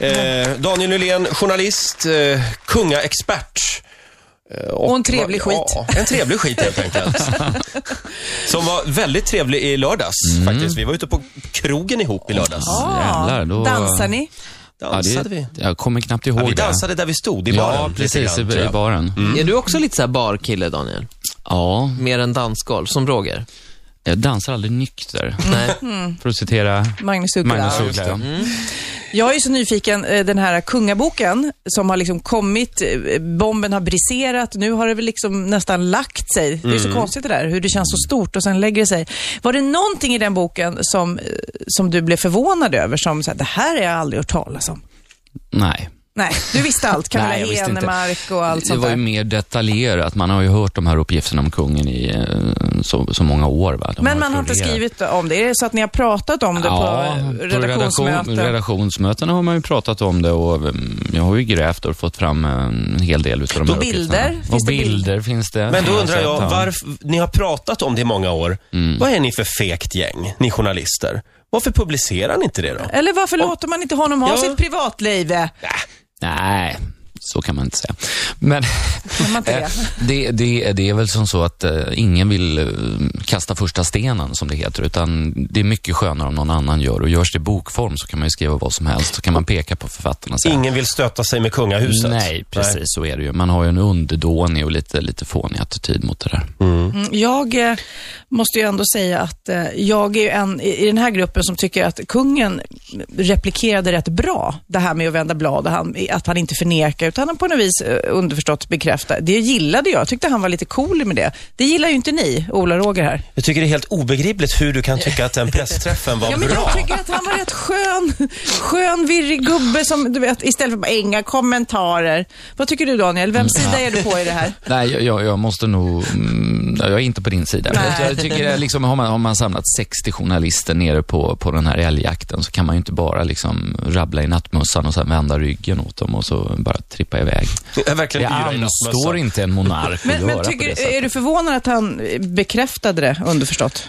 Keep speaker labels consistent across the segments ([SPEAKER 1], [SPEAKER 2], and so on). [SPEAKER 1] Eh, Daniel Nylén, journalist, eh, kungaexpert. Eh,
[SPEAKER 2] Och en trevlig
[SPEAKER 1] Ja, en trevlig skit helt enkelt. Som var väldigt trevlig i lördags
[SPEAKER 3] Mm.
[SPEAKER 1] faktiskt. Vi var ute på krogen ihop i lördags.
[SPEAKER 2] Ah,
[SPEAKER 3] Jävlar, då-
[SPEAKER 2] Dansar ni?
[SPEAKER 1] Dansade vi?
[SPEAKER 3] Jag kommer knappt ihåg
[SPEAKER 1] Ja, vi
[SPEAKER 3] det.
[SPEAKER 1] dansade där vi stod, i baren.
[SPEAKER 3] Ja,
[SPEAKER 1] lite
[SPEAKER 3] precis. I,
[SPEAKER 1] grann, tror
[SPEAKER 3] i
[SPEAKER 1] jag. Mm.
[SPEAKER 3] baren.
[SPEAKER 4] Är du också lite så här barkille, Daniel?
[SPEAKER 3] Ja,
[SPEAKER 4] Mer än dansgolv, som Roger?
[SPEAKER 3] jag dansar aldrig nykter. Mm.
[SPEAKER 4] Nej.
[SPEAKER 3] För att citera
[SPEAKER 2] Magnus Uggla.
[SPEAKER 3] Magnus Uggla. ja.
[SPEAKER 1] Mm.
[SPEAKER 2] Jag är så nyfiken, eh, den här kungaboken som har liksom kommit, eh, bomben har briserat, nu har det väl liksom nästan lagt sig. Det är
[SPEAKER 1] Mm.
[SPEAKER 2] så konstigt det där, hur det känns så stort och sen lägger det sig. Var det någonting i den boken som, eh, som du blev förvånad över, som så här, det här har jag aldrig hört talas om?
[SPEAKER 3] Nej.
[SPEAKER 2] Nej, du visste allt. Camilla
[SPEAKER 3] Nej, jag visste inte.
[SPEAKER 2] Henemark och allt
[SPEAKER 3] Det
[SPEAKER 2] sånt
[SPEAKER 3] var ju
[SPEAKER 2] där.
[SPEAKER 3] mer detaljerat. Man har ju hört de här uppgifterna om kungen i eh, så, så många år. Va? De
[SPEAKER 2] Men man har inte
[SPEAKER 3] florerat.
[SPEAKER 2] skrivit om det. Är det så att ni har pratat om det
[SPEAKER 3] Ja,
[SPEAKER 2] på eh, redaktionsmöten?
[SPEAKER 3] redaktion, redaktionsmötena har man ju pratat om det och mm, jag har ju grävt och fått fram eh, en hel del utav de
[SPEAKER 2] Och
[SPEAKER 3] här
[SPEAKER 2] bilder?
[SPEAKER 3] uppgifterna.
[SPEAKER 2] Finns
[SPEAKER 3] Och
[SPEAKER 2] det bild-
[SPEAKER 3] bilder finns det.
[SPEAKER 1] Men då undrar jag,
[SPEAKER 3] Ja. Mm.
[SPEAKER 1] varför, ni har pratat om det i många år. Vad är ni för fegt gäng, ni journalister? Varför publicerar ni inte det
[SPEAKER 3] Eh.
[SPEAKER 1] då?
[SPEAKER 2] Eller varför låter man inte honom ha
[SPEAKER 1] Ja.
[SPEAKER 2] sitt privatliv? Kan
[SPEAKER 3] Nej, så kan man inte säga. Men
[SPEAKER 2] man inte det?
[SPEAKER 3] det, det, det är väl som så att eh, ingen vill eh, kasta första stenen, som det heter, utan det är mycket skönare om någon annan gör och görs det i bokform så kan man ju skriva vad som helst, så kan man peka på författarna sen.
[SPEAKER 1] Ingen vill stöta sig med kungahuset.
[SPEAKER 3] Nej, precis så är det ju. Man har ju en underdånig och lite, lite fånig attityd mot det där.
[SPEAKER 2] Mm, Jag eh, måste ju ändå säga att eh, jag är ju en i i den här gruppen som tycker att kungen replikerade rätt bra det här med att vända blad och han, att han inte förnekar utan han på något vis eh, underförstått bekräftar. Det gillade jag. Jag tyckte han var lite cool med det. Det gillar ju inte ni, Ola Roger här.
[SPEAKER 1] Jag tycker det är helt obegripligt hur du kan tycka att den pressträffen var
[SPEAKER 2] Ja, men
[SPEAKER 1] bra.
[SPEAKER 2] jag tycker att han var rätt skön, skön virrig gubbe som, du vet, istället för bara inga kommentarer. Vad tycker du Daniel? Vem sida är du på i det här?
[SPEAKER 3] Nej, Mm. jag- jag, jag måste nog... Mm, jag är inte på din sida.
[SPEAKER 2] Nej.
[SPEAKER 3] Jag, jag tycker, liksom, har, man, har man samlat 60 journalister nere på, på den här älgjakten så kan man ju inte bara liksom, rabbla i nattmössan och sen vända ryggen åt dem och så bara trippa iväg.
[SPEAKER 1] Det är
[SPEAKER 3] Det
[SPEAKER 1] verkligen yra i
[SPEAKER 3] anstår
[SPEAKER 1] nattmössan.
[SPEAKER 3] inte en monark att
[SPEAKER 2] Men,
[SPEAKER 3] göra
[SPEAKER 2] men
[SPEAKER 3] på det
[SPEAKER 2] tycker,
[SPEAKER 3] sättet.
[SPEAKER 2] är du förvånad att han bekräftade det underförstått?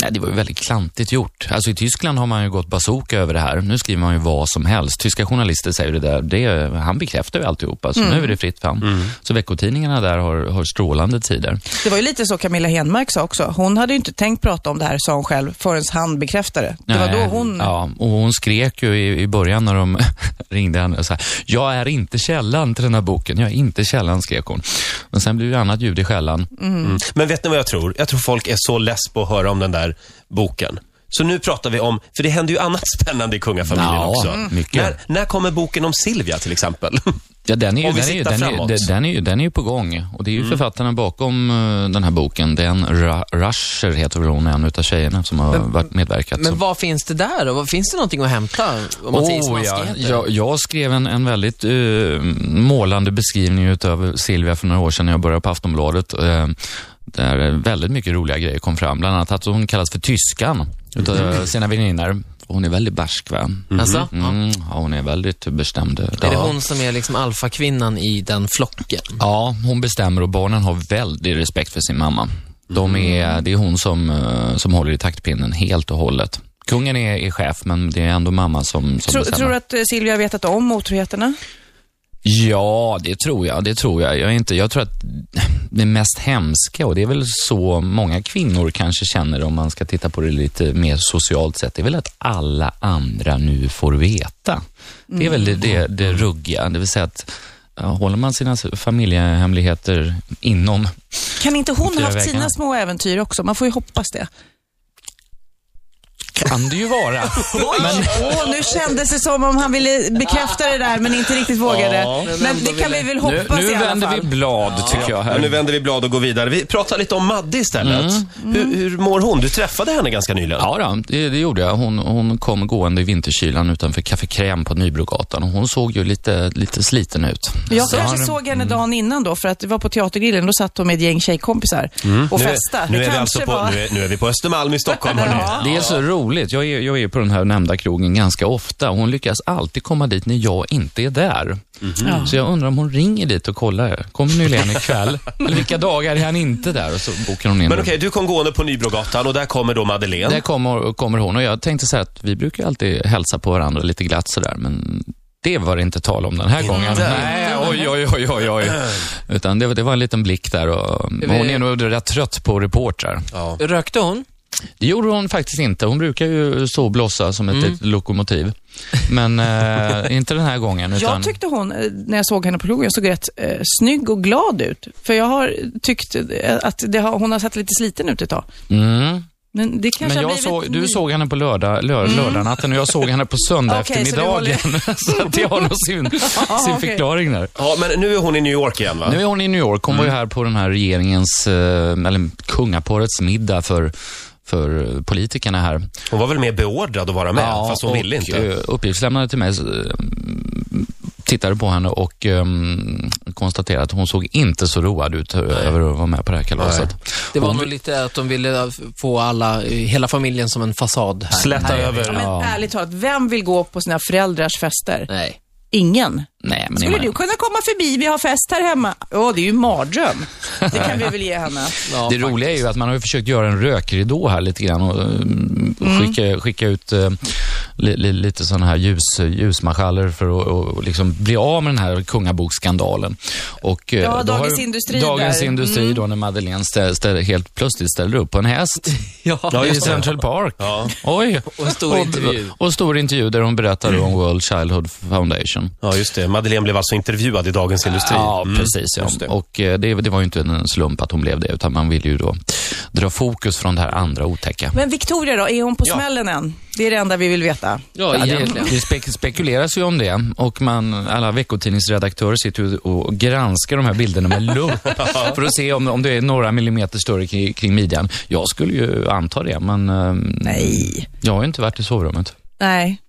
[SPEAKER 3] Nej, det var ju väldigt klantigt gjort. Alltså i Tyskland har man ju gått bazooka över det här. Nu skriver man ju vad som helst. Tyska journalister säger det där. Det, är- han bekräftar ju alltihopa, så
[SPEAKER 2] Mm.
[SPEAKER 3] nu är det fritt fram. Så veckotidningarna där har, har strålande tider.
[SPEAKER 2] Det var ju lite så Camilla Henmark sa också. Hon hade ju inte tänkt prata om det här, sa hon själv, förrän han bekräftade. Det var
[SPEAKER 3] Nej,
[SPEAKER 2] då hon...
[SPEAKER 3] Ja, och hon skrek ju i, i början när de ringde henne och sa Jag är inte källan till den här boken. Jag är inte källan, skrek hon. Men sen blev det ju annat ljud i skällan.
[SPEAKER 1] Mm. Men vet ni vad jag tror? Jag tror folk är så less på att höra om den där boken. Så nu pratar vi om, för det händer ju annat spännande i kungafamiljen
[SPEAKER 3] Ja,
[SPEAKER 1] också.
[SPEAKER 3] mm. mycket.
[SPEAKER 1] När, när kommer boken om Silvia till exempel?
[SPEAKER 3] Ja, den är ju,
[SPEAKER 1] Om vi
[SPEAKER 3] den är, ju-
[SPEAKER 1] siktar
[SPEAKER 3] den är, ju-
[SPEAKER 1] framåt.
[SPEAKER 3] den, den är, ju- den är ju på gång. Och det är
[SPEAKER 4] Mm.
[SPEAKER 3] ju författarna bakom eh, den här boken. Den Ra- Rusher heter väl hon, en utav tjejerna som har varit medverkat.
[SPEAKER 4] Men
[SPEAKER 3] som-
[SPEAKER 4] vad finns det där då? Vad- Finns det någonting att hämta? Om man säger
[SPEAKER 3] Åh, Oh, ja.
[SPEAKER 4] smaskigheter?
[SPEAKER 3] jag, jag skrev en, en väldigt eh, målande beskrivning utav Silvia för några år sedan när jag började på Aftonbladet. eh, där väldigt mycket roliga grejer kom fram. Bland annat att hon kallas för tyskan utav
[SPEAKER 4] Mm.
[SPEAKER 3] sina väninnor. Hon är väldigt barsk va?
[SPEAKER 4] Alltså, ja.
[SPEAKER 3] Mm, ja, hon är väldigt bestämd.
[SPEAKER 4] Är det
[SPEAKER 3] Ja.
[SPEAKER 4] hon som är liksom alfakvinnan i den flocken?
[SPEAKER 3] Ja, hon bestämmer och barnen har väldigt respekt för sin mamma. De är, det är hon som, eh, som håller i taktpinnen helt och hållet. Kungen är, är chef, men det är ändå mamma som, som
[SPEAKER 2] Tror,
[SPEAKER 3] bestämmer.
[SPEAKER 2] tror du att eh, Silvia vetat om otroheterna?
[SPEAKER 3] Ja, det tror jag. Det tror jag. Jag, är inte, jag tror att det mest hemska, och det är väl så många kvinnor kanske känner om man ska titta på det lite mer socialt sett, det är väl att alla andra nu får veta. Det är väl det, det,
[SPEAKER 2] Mm.
[SPEAKER 3] det ruggiga, det vill säga att ja, håller man sina familjehemligheter inom
[SPEAKER 2] Kan inte hon
[SPEAKER 3] Fyra
[SPEAKER 2] haft
[SPEAKER 3] väggarna.
[SPEAKER 2] sina små äventyr också? Man får ju hoppas det.
[SPEAKER 3] kan det ju vara. Men,
[SPEAKER 2] Åh, nu kändes det som om han ville bekräfta det där, men inte riktigt vågade. men det kan vi väl
[SPEAKER 3] nu,
[SPEAKER 2] hoppas i
[SPEAKER 3] nu
[SPEAKER 2] alla
[SPEAKER 3] vänder vi
[SPEAKER 2] fall.
[SPEAKER 3] blad tycker jag
[SPEAKER 1] Ja, nu
[SPEAKER 3] här.
[SPEAKER 1] vänder vi blad och går vidare. Vi pratar lite om Madde istället. Hur, hur mår hon? Du träffade henne ganska nyligen.
[SPEAKER 3] Mm. Ja, då, det, det gjorde jag. Hon, hon kom gående i vinterkylan utanför Café Crème på Nybrogatan och hon såg ju lite, lite sliten ut.
[SPEAKER 2] Jag
[SPEAKER 3] Så
[SPEAKER 2] kanske
[SPEAKER 3] har-
[SPEAKER 2] såg henne dagen innan då, för att det var på Teatergrillen. Då satt hon med ett gäng tjejkompisar och
[SPEAKER 1] Nu är-
[SPEAKER 2] festade.
[SPEAKER 1] Nu
[SPEAKER 2] det
[SPEAKER 1] är, vi
[SPEAKER 2] kanske
[SPEAKER 1] alltså på,
[SPEAKER 2] var...
[SPEAKER 1] nu, är, nu är vi på Östermalm i Stockholm. hörni.
[SPEAKER 2] Ja.
[SPEAKER 3] Det är så roligt. Jag är, jag är på den här nämnda krogen ganska ofta och hon lyckas alltid komma dit när jag inte är där.
[SPEAKER 2] Ja.
[SPEAKER 3] Så jag undrar om hon ringer dit och kollar. Kommer nu Len ikväll? Eller vilka dagar är han inte där? Och så bokar hon in
[SPEAKER 1] Men
[SPEAKER 3] en-
[SPEAKER 1] okej, du kom gående på Nybrogatan och där kommer då Madeleine.
[SPEAKER 3] Där kommer, kommer hon och jag tänkte så här att vi brukar alltid hälsa på varandra lite glatt sådär, men det var det inte tal om den här gången. Nej, oj, oj, oj, oj, oj. Utan det, var- det var en liten blick där och
[SPEAKER 4] vi-
[SPEAKER 3] hon är nog rätt trött på reportrar.
[SPEAKER 1] Ja.
[SPEAKER 4] Rökte hon?
[SPEAKER 3] Det gjorde hon faktiskt inte. Hon brukar ju så blossa som
[SPEAKER 2] Mm.
[SPEAKER 3] ett litet lokomotiv. Men eh, inte den här gången. Utan,
[SPEAKER 2] Jag tyckte hon, eh, när jag såg henne på krogen, såg rätt eh, snygg och glad ut. För jag har tyckt eh, att det har, hon har sett lite sliten ut ett tag.
[SPEAKER 3] mm.
[SPEAKER 2] Men det kanske
[SPEAKER 3] Men
[SPEAKER 2] har
[SPEAKER 3] jag
[SPEAKER 2] blivit
[SPEAKER 3] såg, du
[SPEAKER 2] ny-
[SPEAKER 3] såg henne på lördag, lör, lördagnatten och jag såg henne på söndag
[SPEAKER 2] Okej, så det håller-
[SPEAKER 3] eftermiddagen. Så att det har nog sin, sin
[SPEAKER 2] okej.
[SPEAKER 3] förklaring där.
[SPEAKER 1] ja, men nu är hon i New York igen va?
[SPEAKER 3] Nu är hon i New York. Hon
[SPEAKER 1] Mm.
[SPEAKER 3] var ju här på den här regeringens, eh, eller kungaparets middag för, för politikerna här.
[SPEAKER 1] Hon var väl mer beordrad att vara med, fast hon
[SPEAKER 3] och,
[SPEAKER 1] ville inte.
[SPEAKER 3] eh, Uppgiftslämnare till mig eh, tittade på henne och eh, konstaterade att hon såg inte så road ut eh, över att vara med på det här kalaset.
[SPEAKER 4] Det var
[SPEAKER 3] Hon-
[SPEAKER 4] nog lite att de ville få alla, eh, hela familjen som en fasad här.
[SPEAKER 1] Släta
[SPEAKER 4] Nej.
[SPEAKER 1] över.
[SPEAKER 2] Ja, men ärligt talat, vem vill gå på sina föräldrars fester?
[SPEAKER 4] Nej.
[SPEAKER 2] Ingen.
[SPEAKER 3] Nej, men
[SPEAKER 2] Skulle
[SPEAKER 3] det-
[SPEAKER 2] du kunna komma förbi? Vi har fest här hemma. Ja, det är ju en mardröm. Det kan vi väl ge henne.
[SPEAKER 4] Ja,
[SPEAKER 3] det roliga är ju att man har ju försökt göra en rökridå här lite grann och eh, skicka, skicka ut eh, li, li, lite sådana här ljus, ljusmarschaller för att och, liksom bli av med den här kungaboksskandalen. Och, eh,
[SPEAKER 2] Ja,
[SPEAKER 3] då har
[SPEAKER 2] Dagens
[SPEAKER 3] ju-
[SPEAKER 2] Industri
[SPEAKER 3] Dagens
[SPEAKER 2] där.
[SPEAKER 3] Industri då när Madeleine ställ, ställ, helt plötsligt ställer upp på en häst
[SPEAKER 1] Ja,
[SPEAKER 4] Ja,
[SPEAKER 3] i
[SPEAKER 1] just det.
[SPEAKER 3] Central Park.
[SPEAKER 1] Ja.
[SPEAKER 3] Oj!
[SPEAKER 4] och en stor intervju.
[SPEAKER 3] Och stor intervju där hon berättar om World Childhood Foundation.
[SPEAKER 1] Ja, just det. Madeleine blev alltså intervjuad i Dagens Industri.
[SPEAKER 3] Ja,
[SPEAKER 1] Mm.
[SPEAKER 3] precis. Ja.
[SPEAKER 1] Just det.
[SPEAKER 3] Och eh, det, det var ju inte en slump att hon blev det, utan man ville ju då dra fokus från det här andra otäcka.
[SPEAKER 2] Men Victoria då, är hon på smällen än? Det är det enda vi vill veta.
[SPEAKER 4] Ja,
[SPEAKER 3] Ja, det,
[SPEAKER 4] egentligen.
[SPEAKER 3] det spek- spekuleras ju om det och man, alla veckotidningsredaktörer sitter ju och granskar de här bilderna med lupp för att se om, om det är några millimeter större kring, kring midjan. Jag skulle ju anta det, men ehm,
[SPEAKER 2] Nej.
[SPEAKER 3] jag har ju inte varit i sovrummet.
[SPEAKER 2] Nej.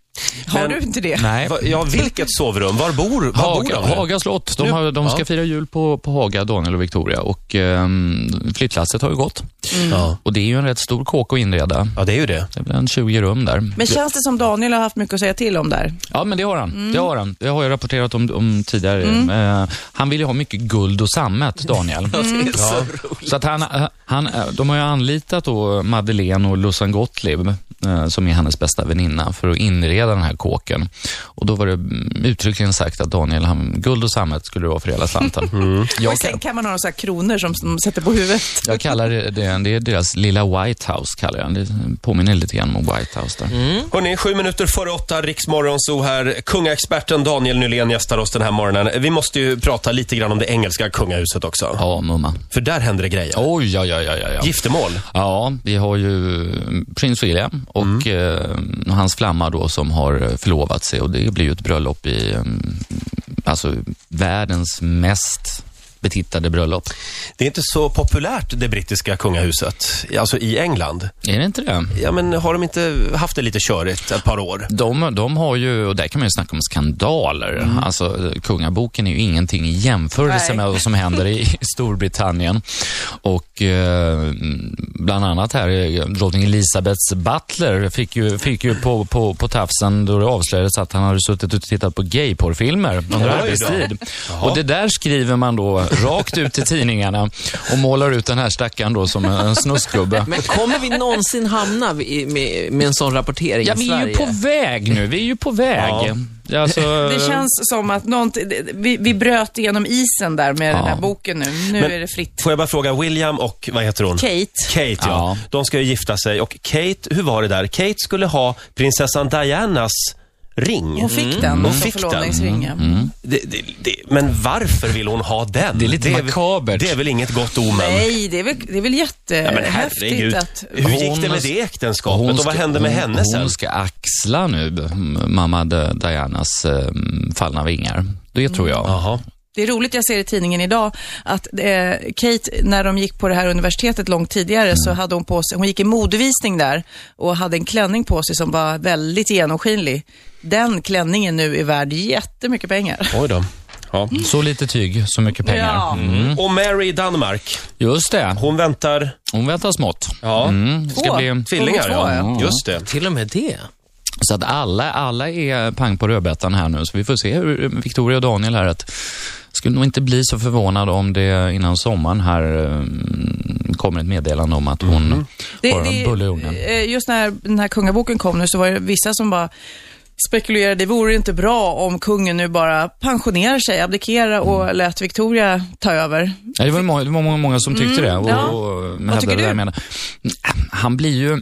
[SPEAKER 2] Har
[SPEAKER 1] Men-
[SPEAKER 2] du inte det?
[SPEAKER 3] Nej.
[SPEAKER 1] Va- Ja, vilket sovrum? Var bor, var bor
[SPEAKER 3] Haga,
[SPEAKER 1] de? nu?
[SPEAKER 3] Haga slott. De, har, de ska
[SPEAKER 1] Ja.
[SPEAKER 3] fira jul på, på Haga, Daniel och Victoria. Och ehm, flyttlasset har ju gått.
[SPEAKER 1] Ja.
[SPEAKER 3] Och det är ju en rätt stor kåk att inreda.
[SPEAKER 1] ja, det är ju det.
[SPEAKER 3] Det är väl en 20 rum där.
[SPEAKER 2] Men känns det som Daniel har haft mycket att säga till om där?
[SPEAKER 3] Ja, men det har han. Det har han. Det har jag rapporterat om, om tidigare. Eh, han vill ju ha mycket guld och sammet, Daniel.
[SPEAKER 1] Ja.
[SPEAKER 3] Så att han, eh, han, de har ju anlitat då Madeleine och Lussan Gottlieb, eh, som är hennes bästa väninna, för att inreda den här kåken. Och då var det mm, uttryckligen sagt att Daniel, han, guld och sammet skulle det vara för hela slanten. Jag,
[SPEAKER 2] och sen kan man ha några så här kronor som, som sätter på huvudet.
[SPEAKER 3] jag kallar det, det, det är deras lilla White House, kallar jag den. Det påminner lite grann om White House där.
[SPEAKER 1] Hörrni, sju minuter före åtta, Riksmorgonzoo här. Kungaexperten Daniel Nylén gästar oss den här morgonen. Vi måste ju prata lite grann om det engelska kungahuset också.
[SPEAKER 3] Ja, mumma.
[SPEAKER 1] För där händer det grejer.
[SPEAKER 3] Oj, ja, ja, ja, ja. ja.
[SPEAKER 1] Giftermål.
[SPEAKER 3] Ja, vi har ju eh, prins William och eh, hans flamma då som har eh, förlovat sig och det blir ju ett bröllop i eh, alltså världens mest betittade bröllop.
[SPEAKER 1] Det är inte så populärt, det brittiska kungahuset. Alltså i England.
[SPEAKER 3] Är det inte det?
[SPEAKER 1] Ja, men har de inte haft det lite körigt ett par år?
[SPEAKER 3] De, de har ju, och där kan man ju snacka om skandaler. Alltså, eh, kungaboken är ju ingenting i jämförelse
[SPEAKER 2] Nej.
[SPEAKER 3] med vad som händer i i Storbritannien. Och eh, bland annat här, eh, drottning Elizabeths butler fick ju, fick ju på, på, på tafsen då det avslöjades att han hade suttit och tittat på gayporrfilmer under
[SPEAKER 1] Oj då.
[SPEAKER 3] arbetstid. Och det där skriver man då rakt ut i tidningarna och målar ut den här stackaren då som en, en snuskgubbe.
[SPEAKER 4] Men kommer vi någonsin hamna i, med, med en sån rapportering
[SPEAKER 3] Ja,
[SPEAKER 4] i
[SPEAKER 3] vi är ju
[SPEAKER 4] Sverige?
[SPEAKER 3] på väg nu. Vi är ju på väg. Ja. Alltså,
[SPEAKER 2] Det känns som att nånt, vi, vi bröt igenom isen där med den här boken nu. Nu
[SPEAKER 1] Men-
[SPEAKER 2] är det fritt.
[SPEAKER 1] Får jag bara fråga, William och vad heter hon?
[SPEAKER 2] Kate.
[SPEAKER 1] Kate, ja.
[SPEAKER 3] Ja.
[SPEAKER 1] De ska ju gifta sig och Kate, hur var det där? Kate skulle ha prinsessan Dianas ring.
[SPEAKER 2] Hon fick den
[SPEAKER 1] Hon
[SPEAKER 2] som
[SPEAKER 1] fick den. Mm.
[SPEAKER 2] förlovningsringen.
[SPEAKER 1] Det, det, det, men varför vill hon ha den?
[SPEAKER 3] Det är lite
[SPEAKER 1] väl-
[SPEAKER 3] makabert.
[SPEAKER 1] Det är väl inget gott omen?
[SPEAKER 2] Nej, det är väl, det är väl
[SPEAKER 1] Ja, men
[SPEAKER 2] jättehäftigt
[SPEAKER 1] herregud.
[SPEAKER 2] att...
[SPEAKER 1] Hur gick det
[SPEAKER 3] Hon-
[SPEAKER 1] med det äktenskapet och vad hände med
[SPEAKER 3] hon,
[SPEAKER 1] henne sen?
[SPEAKER 3] Hon ska axla nu m- mamma D- Dianas eh, fallna vingar. Det tror jag.
[SPEAKER 1] Mm. Jaha.
[SPEAKER 2] Det är roligt, jag ser i tidningen idag att eh, Kate, när de gick på det här universitetet långt tidigare,
[SPEAKER 3] Mm.
[SPEAKER 2] så hade hon på sig, hon gick i modevisning där och hade en klänning på sig som var väldigt genomskinlig. Den klänningen nu är värd jättemycket pengar.
[SPEAKER 1] Oj då. Ja.
[SPEAKER 3] Så lite tyg, så mycket pengar.
[SPEAKER 2] Ja.
[SPEAKER 3] Mm.
[SPEAKER 1] Och Mary i Danmark,
[SPEAKER 3] Just det.
[SPEAKER 1] hon väntar...
[SPEAKER 3] Hon väntar smått.
[SPEAKER 1] Ja,
[SPEAKER 3] Mm. Det ska
[SPEAKER 2] Två.
[SPEAKER 3] bli...
[SPEAKER 1] tvillingar.
[SPEAKER 2] Hon var två,
[SPEAKER 1] Ja. Mm.
[SPEAKER 3] ja.
[SPEAKER 1] Just det.
[SPEAKER 4] Till och med det.
[SPEAKER 3] Så att alla, alla är pang på rödbetan här nu, så vi får se hur Victoria och Daniel här att skulle nog inte bli så förvånad om det innan sommaren här eh, kommer ett meddelande om att hon
[SPEAKER 1] Mm.
[SPEAKER 3] har en bulle i ugnen.
[SPEAKER 2] eh, Just när den här kungaboken kom nu så var det vissa som bara spekulerade, det vore inte bra om kungen nu bara pensionerar sig, abdikerar och
[SPEAKER 3] Mm.
[SPEAKER 2] lät Victoria ta över.
[SPEAKER 3] Ja, det var, ju många, det var många, många som tyckte det.
[SPEAKER 2] Mm.
[SPEAKER 3] Och,
[SPEAKER 2] ja.
[SPEAKER 3] och, hävdade
[SPEAKER 2] tycker
[SPEAKER 3] det
[SPEAKER 2] du?
[SPEAKER 3] där med- Han blir ju,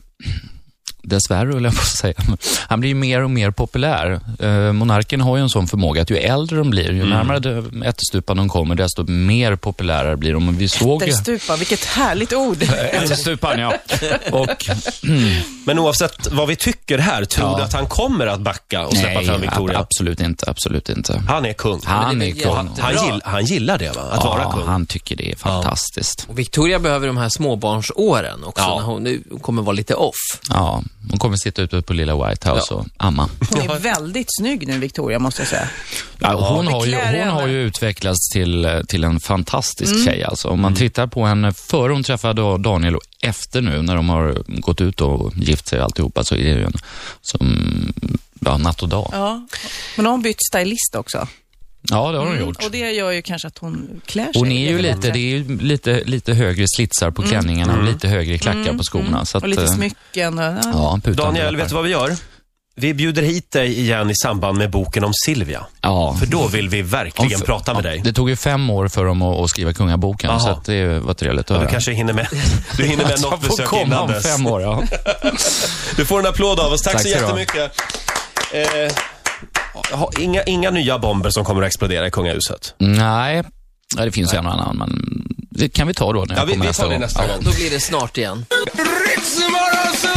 [SPEAKER 3] dessvärre höll jag på att säga, han blir ju mer och mer populär. Eh, monarken har ju en sån förmåga att ju äldre de blir, ju
[SPEAKER 1] Mm.
[SPEAKER 3] närmare det- ättestupan de kommer, desto mer populära blir de. Och Vi såg ju...
[SPEAKER 2] Ätterstupa, vilket härligt ord.
[SPEAKER 3] Ättestupan, ja. Och,
[SPEAKER 1] Men oavsett vad vi tycker här, tror
[SPEAKER 3] Ja.
[SPEAKER 1] du att han kommer att backa och släppa
[SPEAKER 3] nej,
[SPEAKER 1] fram Victoria?
[SPEAKER 3] ab- absolut inte. Absolut inte.
[SPEAKER 1] Han är kung.
[SPEAKER 3] Han
[SPEAKER 4] det är
[SPEAKER 3] är
[SPEAKER 4] jättebra.
[SPEAKER 3] kung.
[SPEAKER 1] Han, gill, han gillar det, va? Att vara
[SPEAKER 3] Ja,
[SPEAKER 1] kung.
[SPEAKER 3] han tycker det är fantastiskt.
[SPEAKER 4] Och Victoria behöver de här småbarnsåren också,
[SPEAKER 1] Ja.
[SPEAKER 4] när hon nu kommer vara lite off.
[SPEAKER 3] Ja, hon kommer sitta ute på lilla White House och amma.
[SPEAKER 2] Hon är väldigt snygg nu, Victoria, måste jag säga.
[SPEAKER 3] Ja, hon, har ju,
[SPEAKER 2] Beklär
[SPEAKER 3] hon
[SPEAKER 2] henne. Mm.
[SPEAKER 3] har ju utvecklats till, eh, till en fantastisk tjej. Alltså. Om man tittar på henne före hon träffade då Daniel och efter nu när de har gått ut och gift sig och alltihopa så är det ju en som, ja, natt och dag.
[SPEAKER 2] Ja. Men har hon bytt stylist också?
[SPEAKER 3] Ja, det har hon gjort.
[SPEAKER 2] Mm, Och det gör ju kanske att hon klär sig.
[SPEAKER 3] Hon är ju
[SPEAKER 2] lite
[SPEAKER 3] lite, det
[SPEAKER 2] bättre.
[SPEAKER 3] är ju lite, lite högre slitsar
[SPEAKER 2] Mm.
[SPEAKER 3] på klänningarna och lite högre klackar på skorna. Så att,
[SPEAKER 2] Och lite
[SPEAKER 3] eh,
[SPEAKER 2] smycken. Och, ja.
[SPEAKER 3] Ja, putan
[SPEAKER 1] Daniel,
[SPEAKER 3] till
[SPEAKER 1] vet du vad vi gör? Vi bjuder hit dig igen i samband med boken om Silvia.
[SPEAKER 3] Ja.
[SPEAKER 1] För då vill vi verkligen
[SPEAKER 3] Om för-
[SPEAKER 1] prata med
[SPEAKER 3] ja,
[SPEAKER 1] dig.
[SPEAKER 3] Det tog ju fem år för dem att, att skriva kungaboken,
[SPEAKER 1] Jaha.
[SPEAKER 3] så att det var trevligt att
[SPEAKER 1] Du
[SPEAKER 3] höra.
[SPEAKER 1] kanske hinner med, du hinner med
[SPEAKER 3] Att jag
[SPEAKER 1] något
[SPEAKER 3] får
[SPEAKER 1] besök
[SPEAKER 3] komma
[SPEAKER 1] innan
[SPEAKER 3] om
[SPEAKER 1] dess.
[SPEAKER 3] fem år, ja.
[SPEAKER 1] Du får en applåd av oss. Tack,
[SPEAKER 3] Tack
[SPEAKER 1] så
[SPEAKER 3] ska du ha.
[SPEAKER 1] jättemycket. Eh, ha, inga, inga nya bomber som kommer att explodera i kungahuset.
[SPEAKER 3] Nej, ja, det finns ju en och annan, men det kan vi ta då när
[SPEAKER 1] Ja,
[SPEAKER 3] jag
[SPEAKER 1] vi,
[SPEAKER 3] kommer
[SPEAKER 1] vi
[SPEAKER 3] nästa
[SPEAKER 1] tar det
[SPEAKER 3] gång.
[SPEAKER 1] nästa gång.
[SPEAKER 4] Då blir det snart igen.
[SPEAKER 5] Ritzmorgonzoo!